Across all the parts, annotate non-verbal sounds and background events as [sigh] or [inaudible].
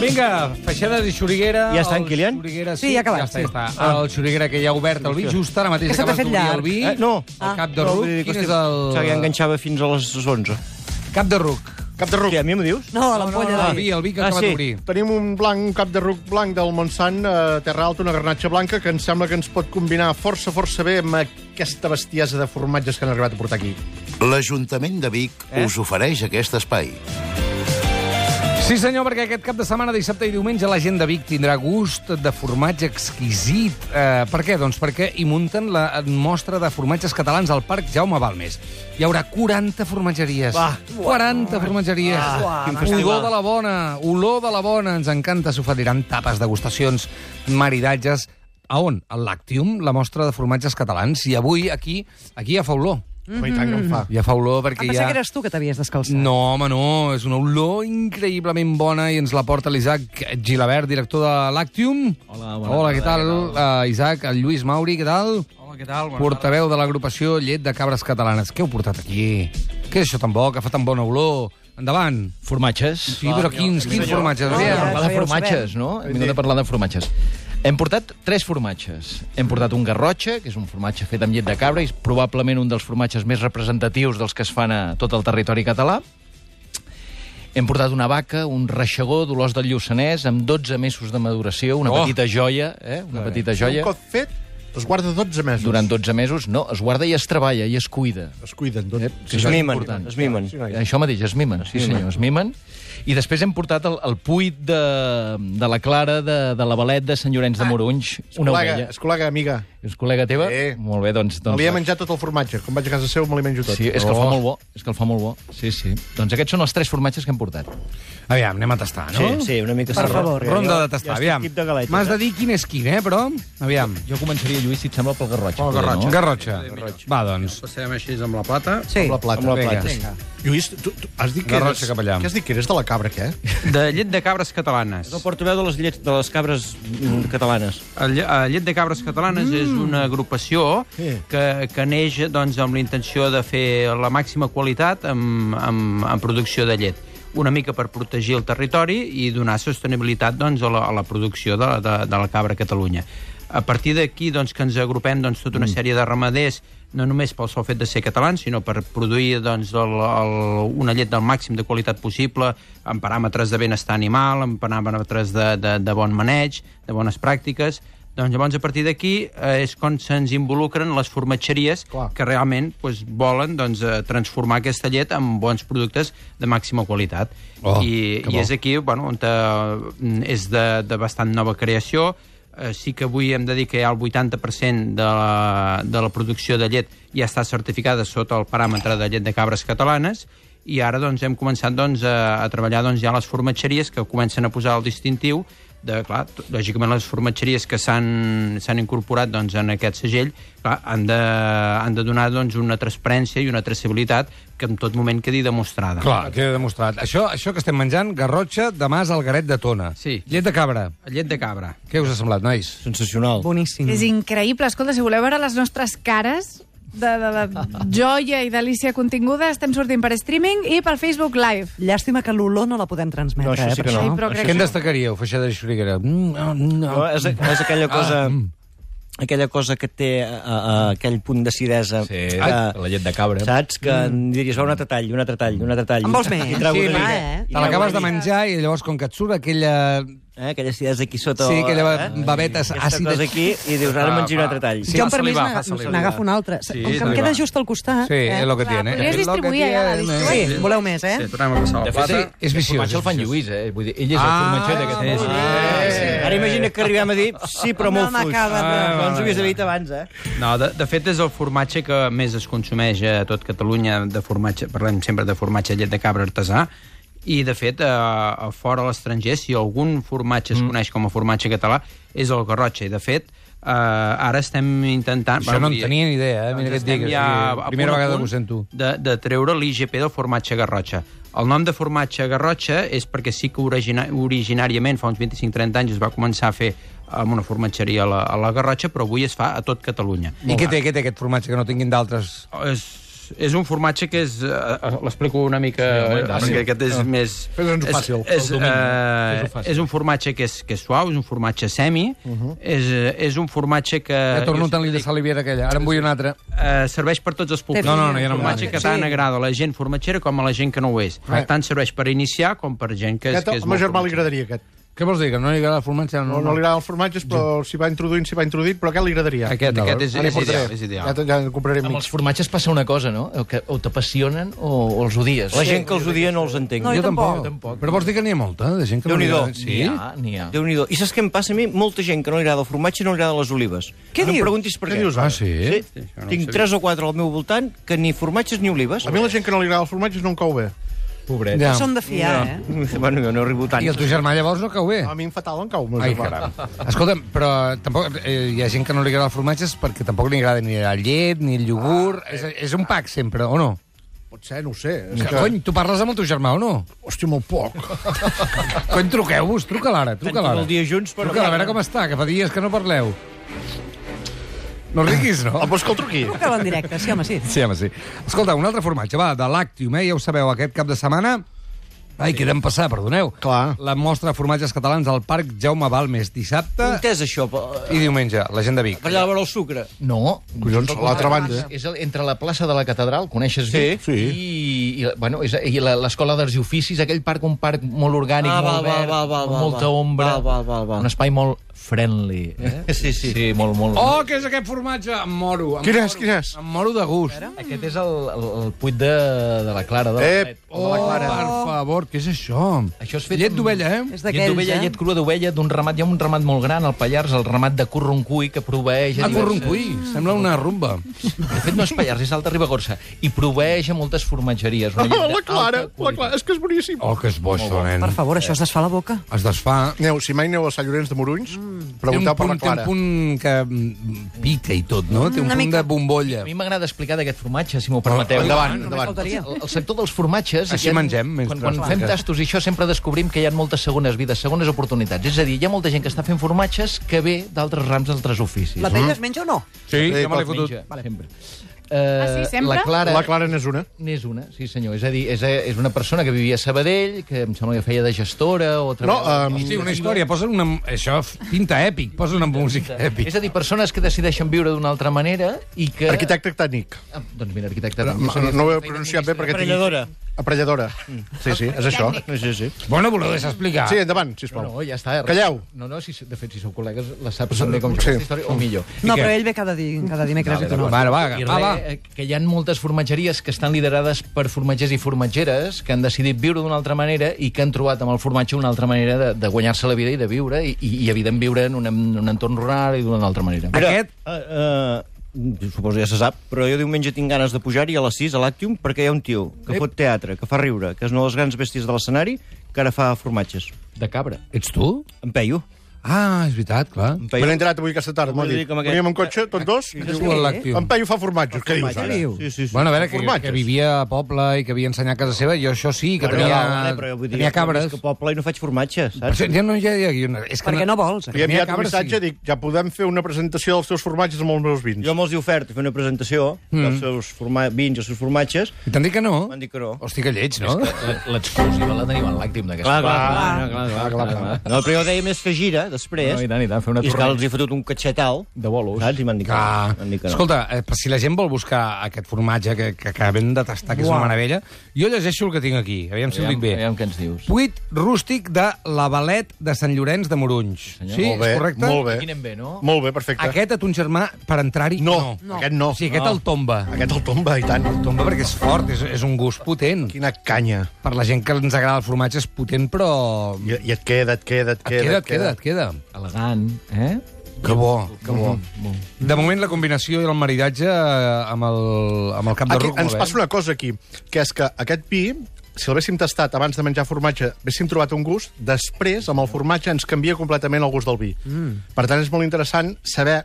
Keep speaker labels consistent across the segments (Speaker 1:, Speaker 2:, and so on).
Speaker 1: Vinga, Feixeda de Xuriguera.
Speaker 2: Ja està, en
Speaker 1: el
Speaker 2: Kilian?
Speaker 1: Xuriguera, sí,
Speaker 3: Sí, ja ha acabat,
Speaker 1: Ja està,
Speaker 3: sí.
Speaker 1: ja està. Ah. El Xuriguera que ja ha obert el vi, just ara mateix
Speaker 3: Que s'ha
Speaker 1: acabes
Speaker 3: fet
Speaker 1: d'obrir el
Speaker 3: llarg.
Speaker 1: vi.
Speaker 2: Eh, no.
Speaker 3: Ah.
Speaker 1: El cap de ruc.
Speaker 2: Vull dir que
Speaker 1: Quin és
Speaker 2: estic- Se
Speaker 1: el...
Speaker 2: enganxava fins a les 11.
Speaker 1: Cap de ruc.
Speaker 4: Cap de ruc.
Speaker 2: Què, a mi em dius?
Speaker 3: No, l'ampolla
Speaker 1: El
Speaker 3: de
Speaker 1: vi, el vi que
Speaker 2: Ah,
Speaker 1: ha acabat
Speaker 2: sí.
Speaker 1: d'obrir.
Speaker 4: Tenim un blanc, un cap de ruc blanc del Montsant, eh, Terra Alta, una garnatxa blanca, que ens sembla que ens pot combinar força, força bé amb aquesta bestiesa de formatges que han arribat a portar aquí.
Speaker 5: L'Ajuntament de Vic eh? us ofereix aquest espai.
Speaker 1: Sí, senyor, perquè aquest cap de setmana, dissabte i diumenge, la gent de Vic tindrà gust de formatge exquisit. Eh, per què? Doncs perquè hi munten la mostra de formatges catalans al Parc Jaume Balmes. Hi haurà 40 formatgeries.
Speaker 2: Va.
Speaker 1: 40 formatgeries.
Speaker 2: Ah, quin
Speaker 1: olor
Speaker 2: festival.
Speaker 1: de la bona, olor de la bona. Ens encanta, s'oferiran tapes, degustacions, maridatges... A on? Al Lactium, la mostra de formatges catalans. I avui, aquí, aquí ja fa olor.
Speaker 4: Mm -hmm. I tant que
Speaker 2: Ah.
Speaker 4: en fa.
Speaker 1: Ja fa olor
Speaker 3: Em
Speaker 1: perquè
Speaker 3: Ah, pensava
Speaker 1: ja...
Speaker 3: que Mm. eres tu que t'havies descalçat.
Speaker 1: No, home, no. És una olor increïblement bona i ens la porta l'Isaac Gilabert, director de Lactium.
Speaker 6: Hola, bona
Speaker 1: Hola,
Speaker 6: tarda,
Speaker 1: què tal, Uh, Isaac? El Lluís Mauri, què tal?
Speaker 6: Hola, què tal? Bona
Speaker 1: Portaveu de l'agrupació Llet de Cabres Catalanes. Què heu portat aquí? Què és això tan bo, que fa tan bona olor? Endavant.
Speaker 6: tarda. Formatges.
Speaker 1: Sí, però quins, quins formatges?
Speaker 3: No,
Speaker 1: Adrià?
Speaker 3: Ah, ja.
Speaker 6: parlar de
Speaker 3: ho
Speaker 6: formatges, no? Hem vingut a parlar de formatges. Hem portat tres formatges. Hem portat un garrotxa, que és un formatge fet amb llet de cabra, i és probablement un dels formatges més representatius dels que es fan a tot el territori català. Hem portat una vaca, un reixegó d'olors del Lluçanès, amb 12 mesos de maduració, una
Speaker 1: Oh!
Speaker 6: petita joia, eh? una petita
Speaker 4: Un
Speaker 6: joia.
Speaker 4: cop fet, es guarda 12 mesos.
Speaker 6: Durant 12 mesos, no, es guarda i es treballa i es cuida.
Speaker 4: Es cuiden 12
Speaker 6: Eh?
Speaker 2: Es
Speaker 6: és
Speaker 2: mimen,
Speaker 6: important.
Speaker 2: es mimen.
Speaker 6: Això mateix, es mimen, sí senyor, es mimen. I després hem portat el, el puit de, de la Clara de, de la Balet de Sant Llorenç de Morunys,
Speaker 4: col·lega,
Speaker 6: una ovella.
Speaker 4: És col·lega, amiga.
Speaker 6: És col·lega teva?
Speaker 4: Sí.
Speaker 6: Molt bé, doncs...
Speaker 4: Me
Speaker 6: doncs
Speaker 4: li he menjat tot el formatge. Quan vaig a casa seu me l'hi menjo tot. Oh.
Speaker 6: Sí, és que el fa molt bo, és que el fa molt bo. Sí, sí. Doncs aquests són els tres formatges que hem portat.
Speaker 1: Aviam, anem a tastar, no?
Speaker 2: Sí, sí, una mica...
Speaker 3: Per
Speaker 2: serrat.
Speaker 3: favor.
Speaker 1: Ronda de tastar,
Speaker 2: Ja estic
Speaker 1: aviam.
Speaker 2: tip de galeta,
Speaker 1: M'has de
Speaker 2: eh?
Speaker 1: dir quin és quin, eh, però? Aviam.
Speaker 6: Jo començaria, Lluís, si et sembla, pel garrotxa.
Speaker 4: Pel garrotxa.
Speaker 6: No?
Speaker 1: Garrotxa. Va, doncs.
Speaker 7: Passem així amb la plata.
Speaker 3: Sí.
Speaker 4: Amb la plata.
Speaker 2: Amb la
Speaker 1: Vinga.
Speaker 2: plata.
Speaker 4: Lluís, tu, tu has dit que
Speaker 1: Garrotxa
Speaker 4: eres...
Speaker 1: cap allà.
Speaker 4: Què has dit que eres de la cabra, què?
Speaker 7: De llet de cabres catalanes.
Speaker 2: És el portaveu de les, llets, de les cabres mm, catalanes.
Speaker 7: El lle- eh, Llet de Cabres Catalanes mm. és una agrupació
Speaker 4: Sí.
Speaker 7: que, que neix doncs, amb la intenció de fer la màxima qualitat en, en, en producció de llet una mica per protegir el territori i donar sostenibilitat doncs, a, la, a la producció de, de, de la cabra a Catalunya. A partir d'aquí doncs, que ens agrupem doncs, tota una
Speaker 1: Mm.
Speaker 7: sèrie de ramaders, no només pel sol fet de ser catalans, sinó per produir doncs, el, el, una llet del màxim de qualitat possible, amb paràmetres de benestar animal, amb paràmetres de, de, de bon maneig, de bones pràctiques, doncs llavors, a partir d'aquí, eh, és quan se'ns involucren les formatgeries
Speaker 4: Clar.
Speaker 7: que realment doncs, volen doncs, eh, transformar aquesta llet en bons productes de màxima qualitat.
Speaker 1: Oh,
Speaker 7: I,
Speaker 1: que
Speaker 7: I
Speaker 1: bo.
Speaker 7: és aquí bueno, on eh, és de, de bastant nova creació. Eh, sí que avui hem de dir que hi ha el 80% de la, de la producció de llet ja està certificada sota el paràmetre de llet de cabres catalanes i ara doncs, hem començat doncs, a, a treballar doncs, ja les formatgeries que comencen a posar el distintiu de, clar, t- lògicament les formatgeries que s'han s'han incorporat doncs, en aquest segell clar, han, de, han de donar doncs, una transparència i una traçabilitat que en tot moment quedi demostrada.
Speaker 1: Clar, queda demostrat. Això, això que estem menjant, garrotxa, demà és el garet de tona.
Speaker 7: Sí.
Speaker 1: Llet de cabra.
Speaker 7: Llet de cabra.
Speaker 1: Què us ha semblat, nois?
Speaker 2: Sensacional.
Speaker 3: Boníssim.
Speaker 8: És
Speaker 1: Mm.
Speaker 8: increïble. Escolta, si voleu veure les nostres cares de, de, de joia i delícia continguda, estem sortint per streaming i pel Facebook Live.
Speaker 3: Llàstima que l'olor no la podem transmetre,
Speaker 2: No, això
Speaker 3: eh,
Speaker 2: sí
Speaker 3: per
Speaker 2: que no.
Speaker 8: Sí, però
Speaker 1: Què
Speaker 8: crec
Speaker 1: en
Speaker 8: que...
Speaker 1: destacaríeu, Feixada i Xuriguera? Mm, no,
Speaker 2: No,
Speaker 1: no.
Speaker 2: és, és aquella cosa... aquella cosa que té eh, eh, aquell punt d'acidesa.
Speaker 6: Sí,
Speaker 2: que-
Speaker 6: la llet de cabra.
Speaker 2: Saps? Que mm. diries, va, un altre tall, un altre tall, un altre tall.
Speaker 3: En vols més?
Speaker 2: I trago
Speaker 1: Sí,
Speaker 2: una
Speaker 1: perquè
Speaker 2: mica. I
Speaker 1: Te
Speaker 2: trago
Speaker 1: l'acabes
Speaker 2: una
Speaker 1: de menjar i llavors, com que et surt aquella...
Speaker 2: mica. Eh, aquella acidesa aquí sota...
Speaker 1: Sí, aquella
Speaker 2: eh?
Speaker 1: baveta
Speaker 2: Aquesta
Speaker 1: àcida.
Speaker 2: cosa aquí, i dius, ara menjaré un altre tall.
Speaker 1: Sí,
Speaker 3: jo,
Speaker 1: fa
Speaker 3: per mi,
Speaker 1: salivar,
Speaker 3: n'ag-
Speaker 1: fa salivar.
Speaker 3: n'agafo un altre.
Speaker 7: Sí,
Speaker 3: Com que em
Speaker 7: salivar.
Speaker 3: queda just al costat.
Speaker 1: Sí,
Speaker 3: eh?
Speaker 1: és el que
Speaker 8: Clar,
Speaker 1: tiene.
Speaker 8: podries
Speaker 1: És lo que
Speaker 8: distribuir allà, la
Speaker 1: tiene.
Speaker 8: distribueix.
Speaker 3: Sí, voleu més, eh?
Speaker 7: Sí, tornem a passar la plata.
Speaker 6: sí,
Speaker 1: és viciós,
Speaker 6: El formatge el fan
Speaker 1: és
Speaker 6: Lluís, eh? Vull dir, ell és el
Speaker 1: Ah,
Speaker 6: formatger
Speaker 1: molt
Speaker 6: d'aquest... Ah,
Speaker 1: bé.
Speaker 2: Ara imagina que arribem a dir, sí, però
Speaker 3: No
Speaker 2: molt fluix.
Speaker 3: m'acaba de-
Speaker 2: Ah, doncs ho havies dit abans, eh?
Speaker 7: No, de, de fet és el formatge que més es consumeix a tot Catalunya de formatge, parlem sempre de formatge llet de cabra artesà i de fet a, a fora a l'estranger si algun formatge
Speaker 1: Mm.
Speaker 7: es coneix com a formatge català és el garrotxa i de fet eh, ara estem intentant
Speaker 1: Això no en
Speaker 7: vull dir,
Speaker 1: tenia ni idea, eh?
Speaker 7: doncs
Speaker 1: Mira què et
Speaker 7: estem
Speaker 1: dic.
Speaker 7: ja a
Speaker 1: Ja
Speaker 7: punt
Speaker 1: primera
Speaker 7: a
Speaker 1: vegada
Speaker 7: punt
Speaker 1: que ho sento.
Speaker 7: De, de treure l'IGP del formatge Garrotxa. El nom de formatge Garrotxa és perquè sí que origina, originàriament, fa uns 25-30 anys, es va començar a fer amb una formatgeria a la, a la Garrotxa, però avui es fa a tot Catalunya.
Speaker 1: I què té, què té aquest formatge que no tinguin d'altres?
Speaker 7: És, és un formatge que és... eh, L'explico una mica... Sí, aquest és més...
Speaker 4: Fes-nos-ho fàcil,
Speaker 7: És, és, eh, és un formatge que és, que és suau, és un formatge semi, uh -huh. és, eh, és un formatge que...
Speaker 1: Mhm.
Speaker 2: Eh,
Speaker 1: Ja torno
Speaker 7: jo
Speaker 1: a tenir de saliviera aquella. Ara en vull una altra.
Speaker 7: eh, serveix per tots els públics.
Speaker 1: No, no, no, ja no em
Speaker 7: formatge
Speaker 1: vale.
Speaker 7: que tant
Speaker 3: Sí.
Speaker 7: agrada a la gent formatgera com a la gent que no ho és. Per tant, serveix per iniciar com per gent que és,
Speaker 4: Aquest,
Speaker 7: que és
Speaker 4: al meu
Speaker 7: molt
Speaker 4: germà li
Speaker 7: formatgera.
Speaker 4: agradaria, aquest.
Speaker 1: Què vols dir? Que no li agrada el formatge?
Speaker 4: No, no li agraden els formatges, però s'hi va introduint, s'hi va introduint, però aquest li agradaria.
Speaker 7: Aquest,
Speaker 1: D'acord.
Speaker 7: aquest és,
Speaker 4: Ara hi
Speaker 7: és,
Speaker 4: portaré.
Speaker 7: ideal, és
Speaker 4: Ja,
Speaker 7: ideal.
Speaker 4: te- ja en compraré
Speaker 6: Amb els
Speaker 4: mig.
Speaker 6: formatges passa una cosa, no? O, que, o t'apassionen o, o els odies.
Speaker 2: La gent que els odia no els entenc.
Speaker 3: No,
Speaker 1: Jo
Speaker 3: jo
Speaker 1: tampoc.
Speaker 3: tampoc.
Speaker 1: tampoc. Però vols dir que n'hi ha molta, de gent que no li
Speaker 2: Déu-n'hi-do.
Speaker 1: agrada?
Speaker 6: N'hi ha, n'hi ha.
Speaker 2: Déu-n'hi-do. I saps què em passa a mi? Molta gent que no li agrada el formatge no li agrada les olives.
Speaker 3: Què
Speaker 2: no em
Speaker 3: diu?
Speaker 2: preguntis per
Speaker 4: Què
Speaker 2: què.
Speaker 4: dius
Speaker 1: Ah,
Speaker 4: ara?
Speaker 1: sí?
Speaker 2: Sí?
Speaker 7: Sí, això no ho
Speaker 2: Tinc
Speaker 7: sabia.
Speaker 2: tres o quatre al meu voltant que ni formatges ni olives.
Speaker 4: A mi la gent que no li agrada els formatges no em cau bé.
Speaker 6: Pobret.
Speaker 1: Ja.
Speaker 3: Són de fiar, eh?
Speaker 2: [laughs] Bueno, jo no arribo tant.
Speaker 1: I el teu germà llavors Ah, no cau bé?
Speaker 4: A mi em fatal em cau. el meu
Speaker 1: Ai,
Speaker 4: germà.
Speaker 1: caram. Escolta'm, però tampoc, eh, hi ha gent que no li agrada el formatge és perquè tampoc li agrada ni el llet, ni el iogurt... Ah, és, és un pack, sempre, o no?
Speaker 4: Potser, no ho sé. És
Speaker 1: Que... Cony, tu parles amb el teu germà, o no?
Speaker 4: Hòstia, molt poc.
Speaker 1: [laughs] Cony, truqueu-vos, truca l'ara, truca
Speaker 2: Estan tot
Speaker 1: l'ara.
Speaker 2: el dia junts, però...
Speaker 1: Truca a veure com està, que fa dies que no parleu. No riguis, no?
Speaker 4: El vols que el truqui?
Speaker 3: Truca-la en directe, sí, home, sí.
Speaker 1: [laughs] Sí, home, sí. Escolta, un altre formatge, va, de Lactium, eh? Ja ho sabeu, aquest cap de setmana... Ai, queden passar, perdoneu.
Speaker 4: Clar.
Speaker 1: La mostra de formatges catalans al Parc Jaume Balmes dissabte
Speaker 2: Entès, això, eh, per,
Speaker 1: i diumenge, la gent de Vic.
Speaker 2: per allà veure el sucre.
Speaker 6: No.
Speaker 4: Collons, a l'altra banda.
Speaker 6: És el- entre la plaça de la catedral, coneixes sí, Vic,
Speaker 4: sí.
Speaker 6: i, i, la- bueno, és, i la- l'escola dels oficis, aquell parc, un parc molt orgànic,
Speaker 2: Ah, va,
Speaker 6: molt
Speaker 2: va,
Speaker 6: verd,
Speaker 2: va, va,
Speaker 6: amb
Speaker 2: va,
Speaker 6: molta
Speaker 2: va.
Speaker 6: ombra,
Speaker 2: Va, va, va, va.
Speaker 6: un espai molt friendly. Eh?
Speaker 2: [laughs] Sí, sí.
Speaker 6: Sí, molt, molt.
Speaker 1: Oh, què és aquest formatge? Em moro. Em
Speaker 4: Quin
Speaker 1: moro,
Speaker 4: és, quin és?
Speaker 1: Em moro de gust.
Speaker 6: Aquest és el, el, el puig de, de la Clara. De
Speaker 4: Ep,
Speaker 1: Oh, per favor, què és això?
Speaker 6: Això és fet
Speaker 1: Llet
Speaker 6: amb-
Speaker 1: d'ovella, eh?
Speaker 3: És
Speaker 6: Llet
Speaker 3: d'aquells,
Speaker 6: d'ovella,
Speaker 3: eh?
Speaker 6: llet crua d'ovella, d'un ramat, hi ha un ramat molt gran al Pallars, el ramat de Curruncuy, que proveeix...
Speaker 4: Ah,
Speaker 1: A
Speaker 6: diverses-
Speaker 1: corrompuí, sembla una rumba.
Speaker 6: De fet, no és Pallars, és Alta Ribagorça. I proveeix a moltes formatgeries. Una llet
Speaker 4: Ah, [laughs] la
Speaker 6: d'alta
Speaker 4: Clara, la
Speaker 6: qualitat.
Speaker 4: Clara, és que és boníssim.
Speaker 1: Oh, que és bo, això, nen.
Speaker 3: Per favor, això es desfà la boca.
Speaker 1: Es desfà.
Speaker 4: Aneu, si mai aneu a Sant Llorenç de Morunys,
Speaker 1: Té un
Speaker 4: pregunteu per
Speaker 1: punt,
Speaker 4: la
Speaker 1: té un
Speaker 4: Clara.
Speaker 1: punt que mm, pica i tot, no? Té un
Speaker 3: Una
Speaker 1: punt
Speaker 3: mica.
Speaker 1: de bombolla.
Speaker 6: A mi m'agrada explicar d'aquest formatge, si m'ho permeteu.
Speaker 4: Endavant,
Speaker 3: Només
Speaker 4: endavant.
Speaker 3: faltaria.
Speaker 6: El, el sector dels formatges...
Speaker 1: Així
Speaker 6: hi ha-
Speaker 1: mengem més
Speaker 6: Quan, quan
Speaker 1: grans.
Speaker 6: fem tastos i això sempre descobrim que hi ha moltes segones vides, segones oportunitats. És a dir, hi ha molta gent que està fent formatges que ve d'altres rams, d'altres oficis.
Speaker 3: La pell es menja o no?
Speaker 1: Sí,
Speaker 4: Sí,
Speaker 1: ja me l'he
Speaker 4: tot
Speaker 1: fotut.
Speaker 6: Menja, sempre. Eh,
Speaker 8: Ah, sí, sempre?
Speaker 6: La Clara,
Speaker 4: La Clara n'és una.
Speaker 6: N'és una, sí senyor. És a dir, és, és una persona que vivia a Sabadell, que em sembla que feia de gestora o
Speaker 4: No,
Speaker 6: treballava...
Speaker 4: em,
Speaker 1: Hosti, una història, posa una... Això f- pinta èpic, posa una música èpic.
Speaker 6: És a dir, persones que decideixen viure d'una altra manera i que...
Speaker 4: arquitecte tècnic.
Speaker 6: Ah, doncs mira, arquitecte...
Speaker 4: No,
Speaker 6: també seria-
Speaker 4: no ho he pronunciat bé perquè...
Speaker 2: Aparelladora.
Speaker 4: Tinc... Aparelladora. Sí, sí, és això. Sí, sí.
Speaker 1: Bueno, voleu explicar.
Speaker 4: Sí, endavant,
Speaker 6: No,
Speaker 4: sisplau.
Speaker 6: no, ja està.
Speaker 4: Calleu.
Speaker 6: No, no, si, de fet, si sou col·legues, la saps també com jo,
Speaker 4: Sí.
Speaker 6: aquesta història, o millor.
Speaker 3: No,
Speaker 1: què?
Speaker 3: però ell ve cada, di cada dimecres i tu no.
Speaker 1: Va, va,
Speaker 6: I
Speaker 1: va,
Speaker 6: res,
Speaker 1: va.
Speaker 6: eh, que hi ha moltes formatgeries que estan liderades per formatgers i formatgeres que han decidit viure d'una altra manera i que han trobat amb el formatge una altra manera de, de guanyar-se la vida i de viure, i, i, i evident, viure en un, en un entorn rural i d'una altra manera.
Speaker 2: Mira,
Speaker 1: Aquest-
Speaker 2: Uh, uh, eh, suposo ja se sap, però jo diumenge tinc ganes de pujar-hi a les 6 a l'Actium perquè hi ha un tio que fot teatre, que fa riure, que és una de les grans bèsties de l'escenari, que ara fa formatges.
Speaker 6: De cabra.
Speaker 1: Ets tu?
Speaker 2: Em peio.
Speaker 1: Ah, és veritat, clar.
Speaker 2: Em
Speaker 4: Me
Speaker 2: peio.
Speaker 4: n'he enterat avui aquesta tarda, m'ho ha
Speaker 2: Vull dir,
Speaker 4: dit.
Speaker 2: com aquest-
Speaker 4: Veníem en cotxe,
Speaker 1: Ah,
Speaker 4: tots dos. i diu,
Speaker 1: Tu a l'actiu.
Speaker 4: En Peyu fa formatges. Què dius, ara?
Speaker 3: diu?
Speaker 2: Sí, sí, sí.
Speaker 1: Bueno, a veure, que, que
Speaker 4: Formatges.
Speaker 1: vivia a poble i que havia ensenyat a casa seva, jo això sí, que
Speaker 2: Bueno,
Speaker 1: tenia,
Speaker 2: vale, però vull dir,
Speaker 1: tenia
Speaker 2: jo
Speaker 1: cabres.
Speaker 2: visc a poble i no faig formatges,
Speaker 1: Però
Speaker 2: saps?
Speaker 1: si- Ja no hi ha... Ja, ja, és que
Speaker 3: Perquè no vols.
Speaker 4: Li he
Speaker 1: Tenia
Speaker 4: enviat un
Speaker 1: cabres,
Speaker 4: missatge,
Speaker 1: sí.
Speaker 4: dic, ja podem fer una presentació dels teus formatges amb els meus vins.
Speaker 2: Jo me'ls he ofert a fer una presentació mm. dels seus forma... vins, els seus formatges,
Speaker 1: I T'han dit que no?
Speaker 2: m'han dit que no.
Speaker 1: Hosti, que lleig, no?
Speaker 6: L'exclusiva la tenim en l'àctim d'aquesta.
Speaker 2: Clar, clar, clar, clar, clar, clar, clar. No, però jo deia més que gira, després.
Speaker 6: No, i tant, i tant, fer una
Speaker 2: I és que
Speaker 6: torrent.
Speaker 2: els he fotut un catxetal.
Speaker 6: De bolos.
Speaker 2: Saps? I m'han dit que
Speaker 1: Ah,
Speaker 2: no. M'han dit que no.
Speaker 1: escolta, eh, per si la gent vol buscar aquest formatge que, que acabem de tastar, que és una meravella, jo llegeixo el que tinc aquí, aviam si ho dic bé.
Speaker 6: Aviam què ens dius.
Speaker 1: Puit rústic de la Balet de Sant Llorenç de Morunys.
Speaker 6: senyor.
Speaker 1: sí,
Speaker 4: Molt bé,
Speaker 1: és correcte?
Speaker 4: molt bé.
Speaker 6: Aquí anem bé, no?
Speaker 4: Molt bé, perfecte.
Speaker 1: Aquest a ton germà, per entrar-hi,
Speaker 4: No,
Speaker 1: no.
Speaker 4: no, aquest no.
Speaker 1: O sigui, aquest el tomba.
Speaker 4: Aquest el tomba, i tant.
Speaker 1: El tomba perquè és fort, és, és un gust potent.
Speaker 4: Quina canya.
Speaker 1: Per la gent que ens agrada el formatge és potent, però...
Speaker 4: I, i et queda, et queda,
Speaker 1: Et
Speaker 4: et
Speaker 1: queda, et queda, et queda.
Speaker 6: Elegant, eh?
Speaker 1: Que bo, que bo. Mm-hmm. De moment, la combinació i el maridatge eh, amb el, amb el cap de eh?
Speaker 4: Aquí,
Speaker 1: ruc...
Speaker 4: ens
Speaker 1: molt bé.
Speaker 4: passa una cosa aquí, que és que aquest vi, si l'haguéssim tastat abans de menjar formatge, haguéssim trobat un gust, després, amb el formatge, ens canvia completament el gust del vi. Mm. Per tant, és molt interessant saber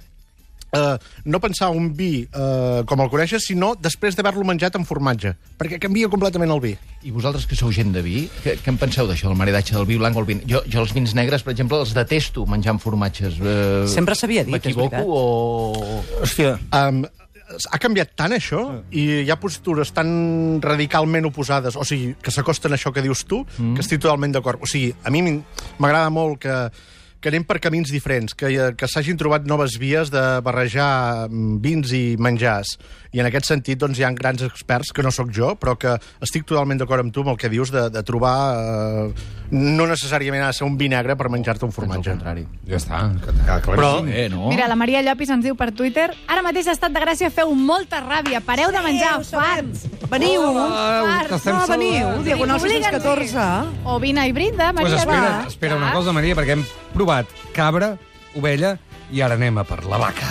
Speaker 4: eh, no pensar un vi eh, com el coneixes, sinó després d'haver-lo menjat amb formatge, perquè canvia completament el vi.
Speaker 6: I vosaltres que sou gent de vi, què, què en penseu d'això, del maridatge del vi blanc o el vi... Jo, jo els vins negres, per exemple, els detesto menjant formatges. Eh,
Speaker 3: Sempre s'havia dit, és
Speaker 6: M'equivoco
Speaker 3: veritat.
Speaker 6: o...
Speaker 2: Hòstia,
Speaker 4: Um, ha canviat tant això i hi ha postures tan radicalment oposades, o sigui, que s'acosten a això que dius tu, que estic totalment d'acord. O sigui, a mi m'in- m'agrada molt que que anem per camins diferents, que, hi ha- que s'hagin trobat noves vies de barrejar mm, vins i menjars. I en aquest sentit doncs, hi ha grans experts, que no sóc jo, però que estic totalment d'acord amb tu amb el que dius de, de trobar... Eh, no necessàriament ha de ser un vi negre per menjar-te un formatge.
Speaker 1: Ja està. que- que- que-
Speaker 4: Però-
Speaker 6: Eh,
Speaker 1: Oh.
Speaker 6: no?
Speaker 8: Mira, la Maria Llopis ens diu per Twitter ara mateix a Estat de Gràcia feu molta ràbia, pareu de menjar, farts.
Speaker 3: Veniu!
Speaker 8: Farts.
Speaker 1: t'estem
Speaker 3: No, veniu!
Speaker 1: saludant.
Speaker 3: Diagonal
Speaker 8: Obliguen-hi.
Speaker 3: 614.
Speaker 8: O vina i brinda,
Speaker 1: Pues
Speaker 8: Maria.
Speaker 1: espera,
Speaker 8: va.
Speaker 1: espera una
Speaker 8: Va.
Speaker 1: cosa, Maria, perquè hem provat cabra, ovella, i ara anem a per la vaca.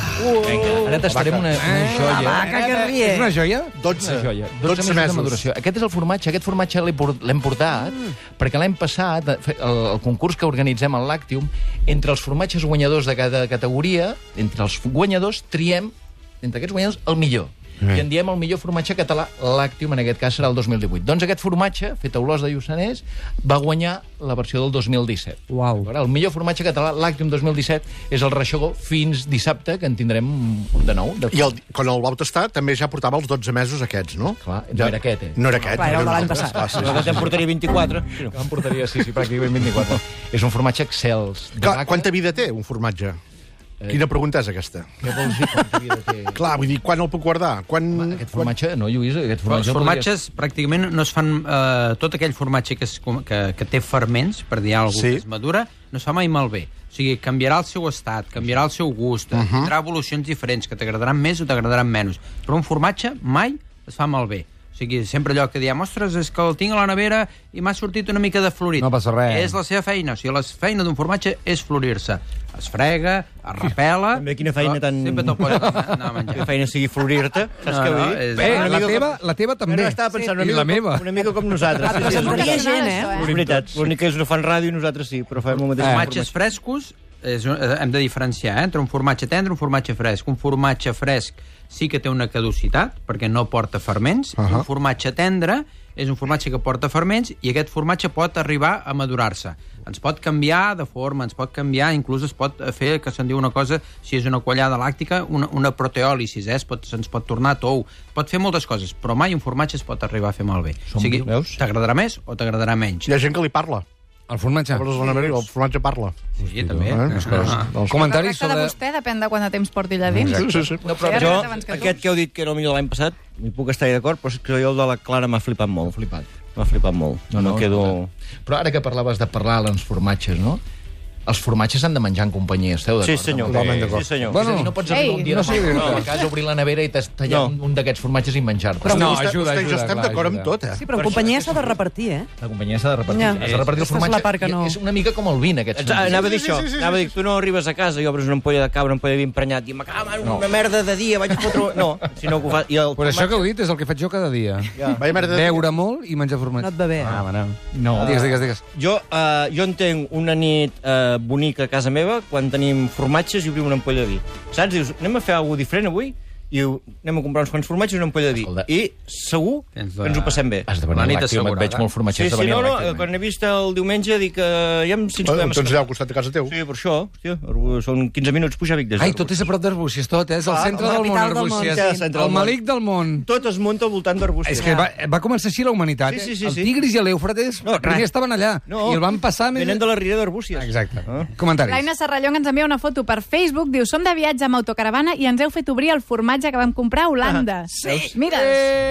Speaker 6: Ara tastarem una, una
Speaker 1: Eh,
Speaker 6: joia.
Speaker 3: la vaca que rie.
Speaker 1: És una joia?
Speaker 4: 12.
Speaker 6: Una joia. 12,
Speaker 4: 12 mesos.
Speaker 6: mesos, de maduració. Aquest és el formatge, aquest formatge l'he por- l'hem portat mm. perquè l'any passat, de fe- el, el concurs que organitzem al Lactium, entre els formatges guanyadors de cada categoria, entre els guanyadors triem, entre aquests guanyadors, el millor. Mm. I en diem el millor formatge català, Lactium, en aquest cas serà el 2018. Doncs aquest formatge, fet a Olors de Lluçanès, va guanyar la versió del 2017.
Speaker 3: Uau.
Speaker 6: D'acord? El millor formatge català, Lactium 2017, és el Reixagó fins dissabte, que en tindrem un de nou. De...
Speaker 4: I el, quan el vau tastar també ja portava els 12 mesos aquests, no?
Speaker 6: Clar, no era aquest, eh?
Speaker 4: No era aquest.
Speaker 3: Clar, era el
Speaker 4: un
Speaker 3: de l'any
Speaker 4: altre.
Speaker 3: passat.
Speaker 4: Ah, sí, sí,
Speaker 2: Jo
Speaker 4: sí.
Speaker 2: que te'n portaria 24.
Speaker 6: Que em portaria, sí, sí, pràcticament 24. és un formatge excels. De
Speaker 4: Clar,
Speaker 6: vaca.
Speaker 4: quanta vida té un formatge? Quina pregunta és aquesta?
Speaker 6: Què vols dir quanta vida té?
Speaker 4: Clar, vull dir, quan el puc guardar? Quan...
Speaker 6: Aquest [laughs] formatge, no, Lluís, aquest
Speaker 7: Però
Speaker 6: formatge...
Speaker 7: els formatges pràcticament no es fan... Eh, tot aquell formatge que, es, com- que, que té ferments, per dir alguna cosa
Speaker 4: Sí.
Speaker 7: que es madura, no es fa mai malbé. O sigui, canviarà el seu estat, canviarà el seu gust, uh -huh.
Speaker 1: Mhm.
Speaker 7: tindrà evolucions diferents que t'agradaran més o t'agradaran menys. Però un formatge mai es fa malbé. O sigui, sempre allò que diem, ostres, és que el tinc a la nevera i m'ha sortit una mica de florit.
Speaker 1: No passa res.
Speaker 7: És la seva feina. O sigui, la feina d'un formatge és florir-se. Es frega, es repela...
Speaker 2: També quina feina
Speaker 7: però
Speaker 2: tan-
Speaker 7: Sempre te'l pots anar anar a menjar.
Speaker 2: Que feina sigui florir-te, saps
Speaker 7: No,
Speaker 2: què
Speaker 7: no,
Speaker 2: vull dir?
Speaker 7: és-
Speaker 1: Bé,
Speaker 7: Una
Speaker 1: Eh, la
Speaker 7: mica
Speaker 1: teva, la teva també.
Speaker 2: Ara estava pensant una
Speaker 1: I
Speaker 2: mica,
Speaker 1: la meva.
Speaker 2: Com, una mica com nosaltres. Sí, sí,
Speaker 3: Se'n
Speaker 2: és
Speaker 3: moria
Speaker 2: veritat.
Speaker 3: gent,
Speaker 8: això,
Speaker 3: eh?
Speaker 2: És veritat. Ah. L'únic que ells no fan ràdio i nosaltres sí, però fem el mateix.
Speaker 7: formatges frescos és, un- eh, hem de diferenciar eh, entre un formatge tendre i un formatge fresc. Un formatge fresc sí que té una caducitat, perquè no porta ferments. Uh -huh. Un formatge tendre és un formatge que porta ferments i aquest formatge pot arribar a madurar-se. Ens pot canviar de forma, ens pot canviar, inclús es pot eh, fer, que se'n diu una cosa, si és una quallada làctica, una, una proteòlisis, eh? Es pot- se'ns pot tornar tou, pot fer moltes coses, però mai un formatge es pot arribar a fer malbé. O sigui, t'agradarà més o t'agradarà menys.
Speaker 4: Hi ha gent que li parla.
Speaker 1: El formatge.
Speaker 4: Obres la nevera i el formatge parla.
Speaker 7: Sí, també.
Speaker 4: Eh? Les coses.
Speaker 1: El
Speaker 8: Però
Speaker 1: comentari
Speaker 8: tracta de
Speaker 1: sobre...
Speaker 8: vostè, depèn de quant de temps porti allà dins.
Speaker 4: Sí, sí, sí.
Speaker 2: No, però
Speaker 8: Sí,
Speaker 2: jo,
Speaker 8: arribat abans que tu.
Speaker 2: aquest que heu dit que era el millor de l'any passat, hi puc estar d'acord, però és que jo el de la Clara m'ha flipat molt.
Speaker 6: Flipat.
Speaker 2: M'ha flipat molt. No, no, quedo...
Speaker 6: Però ara que parlaves de parlar dels formatges, no? Els formatges s'han de menjar en companyia, esteu
Speaker 2: Sí,
Speaker 6: d'acord?
Speaker 2: senyor.
Speaker 6: amb aquest?
Speaker 2: Sí, senyor.
Speaker 1: Bueno,
Speaker 6: És a dir, no pots
Speaker 8: Ei,
Speaker 6: arribar un dia
Speaker 1: no
Speaker 6: no
Speaker 1: sigui
Speaker 6: demà a la casa, obrir la nevera i t'has tallat
Speaker 2: No.
Speaker 6: un d'aquests formatges i menjar-te.
Speaker 1: No,
Speaker 4: vostè,
Speaker 1: ajuda,
Speaker 4: vostè i jo
Speaker 1: ajuda,
Speaker 4: estem
Speaker 1: clar,
Speaker 4: d'acord amb
Speaker 1: ajuda.
Speaker 4: tot, eh?
Speaker 3: Sí, però en companyia s'ha de repartir, eh?
Speaker 6: La companyia s'ha de repartir.
Speaker 3: Ja.
Speaker 6: Has de repartir el
Speaker 3: Aquesta és la
Speaker 6: formatge.
Speaker 3: part que no.
Speaker 6: És una mica com el vi, en aquest
Speaker 2: Ets- Anava a dir
Speaker 4: sí,
Speaker 2: això,
Speaker 4: sí, sí,
Speaker 2: anava a dir, tu no arribes a casa i obres una ampolla de cabra, una ampolla de vi emprenyat, i m'acaba una merda de dia, vaig fotre... No, sinó que ho fa... I el...
Speaker 1: Però això que heu dit és el que faig jo cada dia.
Speaker 4: Ja. Vaya merda. de-
Speaker 1: Beure molt i menjar formatge.
Speaker 3: No et va bé, eh?
Speaker 1: Ah, va, no. Digues, digues, digues.
Speaker 2: Jo, eh, jo entenc una nit eh, bonica a casa meva quan tenim formatges i obrim una ampolla de vi. Saps? Dius, anem a fer alguna diferent avui? I diu, anem a comprar uns quants formatges i una ampolla de vi.
Speaker 6: Escolta.
Speaker 2: I segur que
Speaker 7: Tens la-
Speaker 2: ens ho passem bé.
Speaker 6: Has de
Speaker 7: La
Speaker 6: venir
Speaker 7: nit
Speaker 6: làctim, et
Speaker 7: assegurada.
Speaker 6: veig molt formatger.
Speaker 2: Sí,
Speaker 6: has de
Speaker 2: sí,
Speaker 6: venir
Speaker 2: no,
Speaker 6: al
Speaker 2: no,
Speaker 6: Lactium, eh?
Speaker 2: quan he vist el diumenge dic que ja em- si ens podem
Speaker 4: Doncs allà
Speaker 2: escapar.
Speaker 4: al costat de casa teu.
Speaker 2: Sí, per això, hòstia, són 15 minuts pujar a Vic des
Speaker 1: Ai,
Speaker 2: d'Arbus.
Speaker 1: tot és a prop d'Arbúcies, tot, eh? És el
Speaker 2: Clar,
Speaker 1: centre
Speaker 2: el
Speaker 1: del món,
Speaker 3: capital del
Speaker 1: Arbúcies.
Speaker 3: món,
Speaker 2: sí. El
Speaker 1: El malic del món.
Speaker 2: Tot es munta al voltant d'Arbúcies.
Speaker 1: És que va, va començar així la humanitat.
Speaker 2: Sí, sí,
Speaker 1: eh?
Speaker 2: sí,
Speaker 1: el
Speaker 2: sí.
Speaker 1: Tigris i l'Eufrates
Speaker 2: No,
Speaker 1: no, primer
Speaker 2: res.
Speaker 1: estaven allà
Speaker 2: No.
Speaker 1: i el van passar... més-
Speaker 2: Venen de la riera d'Arbúcies.
Speaker 1: Exacte.
Speaker 2: Ah.
Speaker 1: Comentaris.
Speaker 8: L'Aina Serrallong ens envia una foto per Facebook, diu, som de viatge amb autocaravana i ens heu fet obrir el formatge que vam comprar a Holanda. Sí. Mira'ls.
Speaker 1: Ah,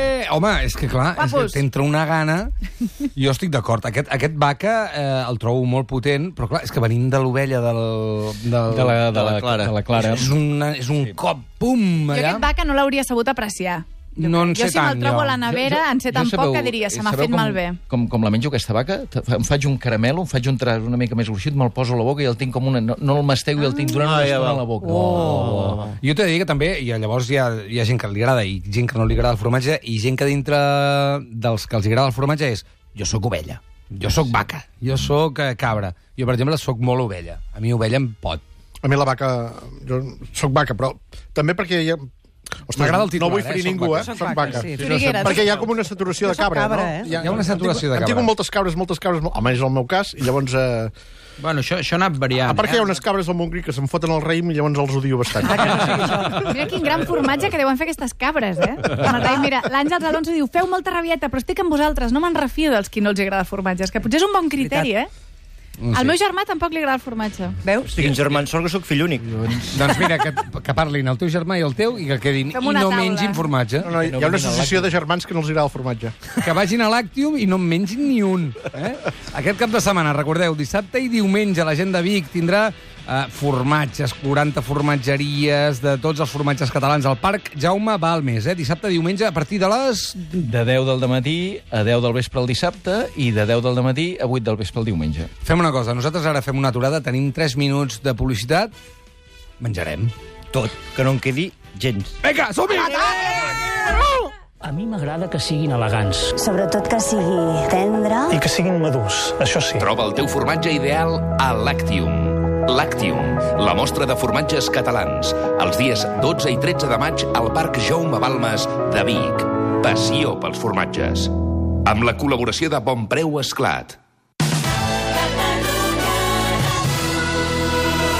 Speaker 1: Eh, home, és que clar, és que
Speaker 8: Guapos.
Speaker 1: t'entra una gana.
Speaker 3: [laughs]
Speaker 1: Jo estic d'acord. Aquest, aquest vaca eh, el trobo molt potent, però clar, és que venint de l'ovella del, del...
Speaker 6: de la, de la,
Speaker 2: la Clara.
Speaker 6: De la Clara.
Speaker 1: És, una, és un sí. cop, pum,
Speaker 8: Jo
Speaker 1: allà.
Speaker 8: aquest vaca no l'hauria sabut apreciar.
Speaker 1: No en
Speaker 8: jo
Speaker 1: sé
Speaker 8: si me'l
Speaker 1: tant,
Speaker 8: trobo
Speaker 1: jo.
Speaker 8: a la nevera, en sé tan
Speaker 6: sabeu-
Speaker 8: poc que diria, se m'ha
Speaker 6: sabeu
Speaker 8: fet
Speaker 6: com,
Speaker 8: malbé.
Speaker 1: [laughs]
Speaker 6: Com, com la menjo aquesta vaca, te- fa- em faig un caramelo, em faig un tras una mica més gruixut, me'l poso a la boca i el tinc com una... No, no el mastego i el tinc durant
Speaker 2: Ah,
Speaker 6: una
Speaker 2: ja
Speaker 6: estona
Speaker 2: va.
Speaker 6: a la boca. Oh.
Speaker 1: Jo t'he de dir que també, i llavors hi ha, hi ha gent que li agrada i gent que no li agrada el formatge, i gent que dintre dels que els agrada el formatge és jo sóc ovella, jo sóc vaca, jo sóc eh, cabra. Jo, per exemple, sóc molt ovella. A mi ovella em pot.
Speaker 4: A mi la vaca... Jo soc vaca, però també perquè hi ha... Ostres,
Speaker 1: M'agrada el titular,
Speaker 4: no vull
Speaker 1: eh?
Speaker 4: ferir
Speaker 1: Soc
Speaker 4: ningú,
Speaker 1: vaca.
Speaker 4: eh?
Speaker 3: Soc
Speaker 4: Soc
Speaker 3: vaca,
Speaker 4: vaca.
Speaker 3: sí.
Speaker 8: Sorigueres.
Speaker 4: Perquè hi ha com una saturació
Speaker 3: Jo
Speaker 4: de
Speaker 3: soc
Speaker 4: cabra,
Speaker 3: cabra,
Speaker 4: no?
Speaker 3: eh?
Speaker 1: Hi ha una saturació de
Speaker 4: Em
Speaker 1: cabra.
Speaker 4: tinc moltes cabres, moltes cabres. molt- Em tinc moltes cabres, moltes cabres, molt- almenys en el meu cas, i llavors... Eh,
Speaker 7: Bueno, això, això ha anat variant.
Speaker 4: A part que hi ha
Speaker 7: eh?
Speaker 4: unes cabres al Montgrí que se'n foten al raïm i llavors els odio bastant.
Speaker 1: Ah,
Speaker 8: Mira quin gran formatge que deuen fer aquestes cabres, eh? Amb el raïm, mira, l'Àngels Alonso diu, feu molta rabieta, però estic amb vosaltres, no me'n refio dels qui no els agrada el formatge. És que potser és un bon criteri, eh? Al meu germà tampoc li agrada el formatge.
Speaker 3: Veus?
Speaker 2: Estic en germans, sort que sóc fill únic.
Speaker 1: Doncs mira, que, que parlin el teu germà i el teu i que quedin i
Speaker 8: Fem
Speaker 1: no
Speaker 8: una taula.
Speaker 1: mengin formatge.
Speaker 4: No, no, hi ha una associació de germans que no els agrada el formatge.
Speaker 1: Que vagin a l'Actium i no en mengin ni un. Eh? Aquest cap de setmana, recordeu, dissabte i diumenge la gent de Vic tindrà eh, formatges, 40 formatgeries de tots els formatges catalans al Parc Jaume Balmes, eh? dissabte i diumenge a partir de les...
Speaker 6: De 10 del matí a 10 del vespre el dissabte i de 10 del matí a 8 del vespre el diumenge.
Speaker 1: Fem una cosa, nosaltres ara fem una aturada, tenim 3 minuts de publicitat, menjarem.
Speaker 2: Tot, que no en quedi gens.
Speaker 1: Vinga, som-hi!
Speaker 9: A mi m'agrada que siguin elegants.
Speaker 10: Sobretot que sigui tendre.
Speaker 9: I que siguin madurs, això sí.
Speaker 11: Troba el teu formatge ideal a Lactium. Lactium, la mostra de formatges catalans. Els dies 12 i 13 de maig al Parc Jaume Balmes de Vic. Passió pels formatges. Amb la col·laboració de Bon Preu Esclat.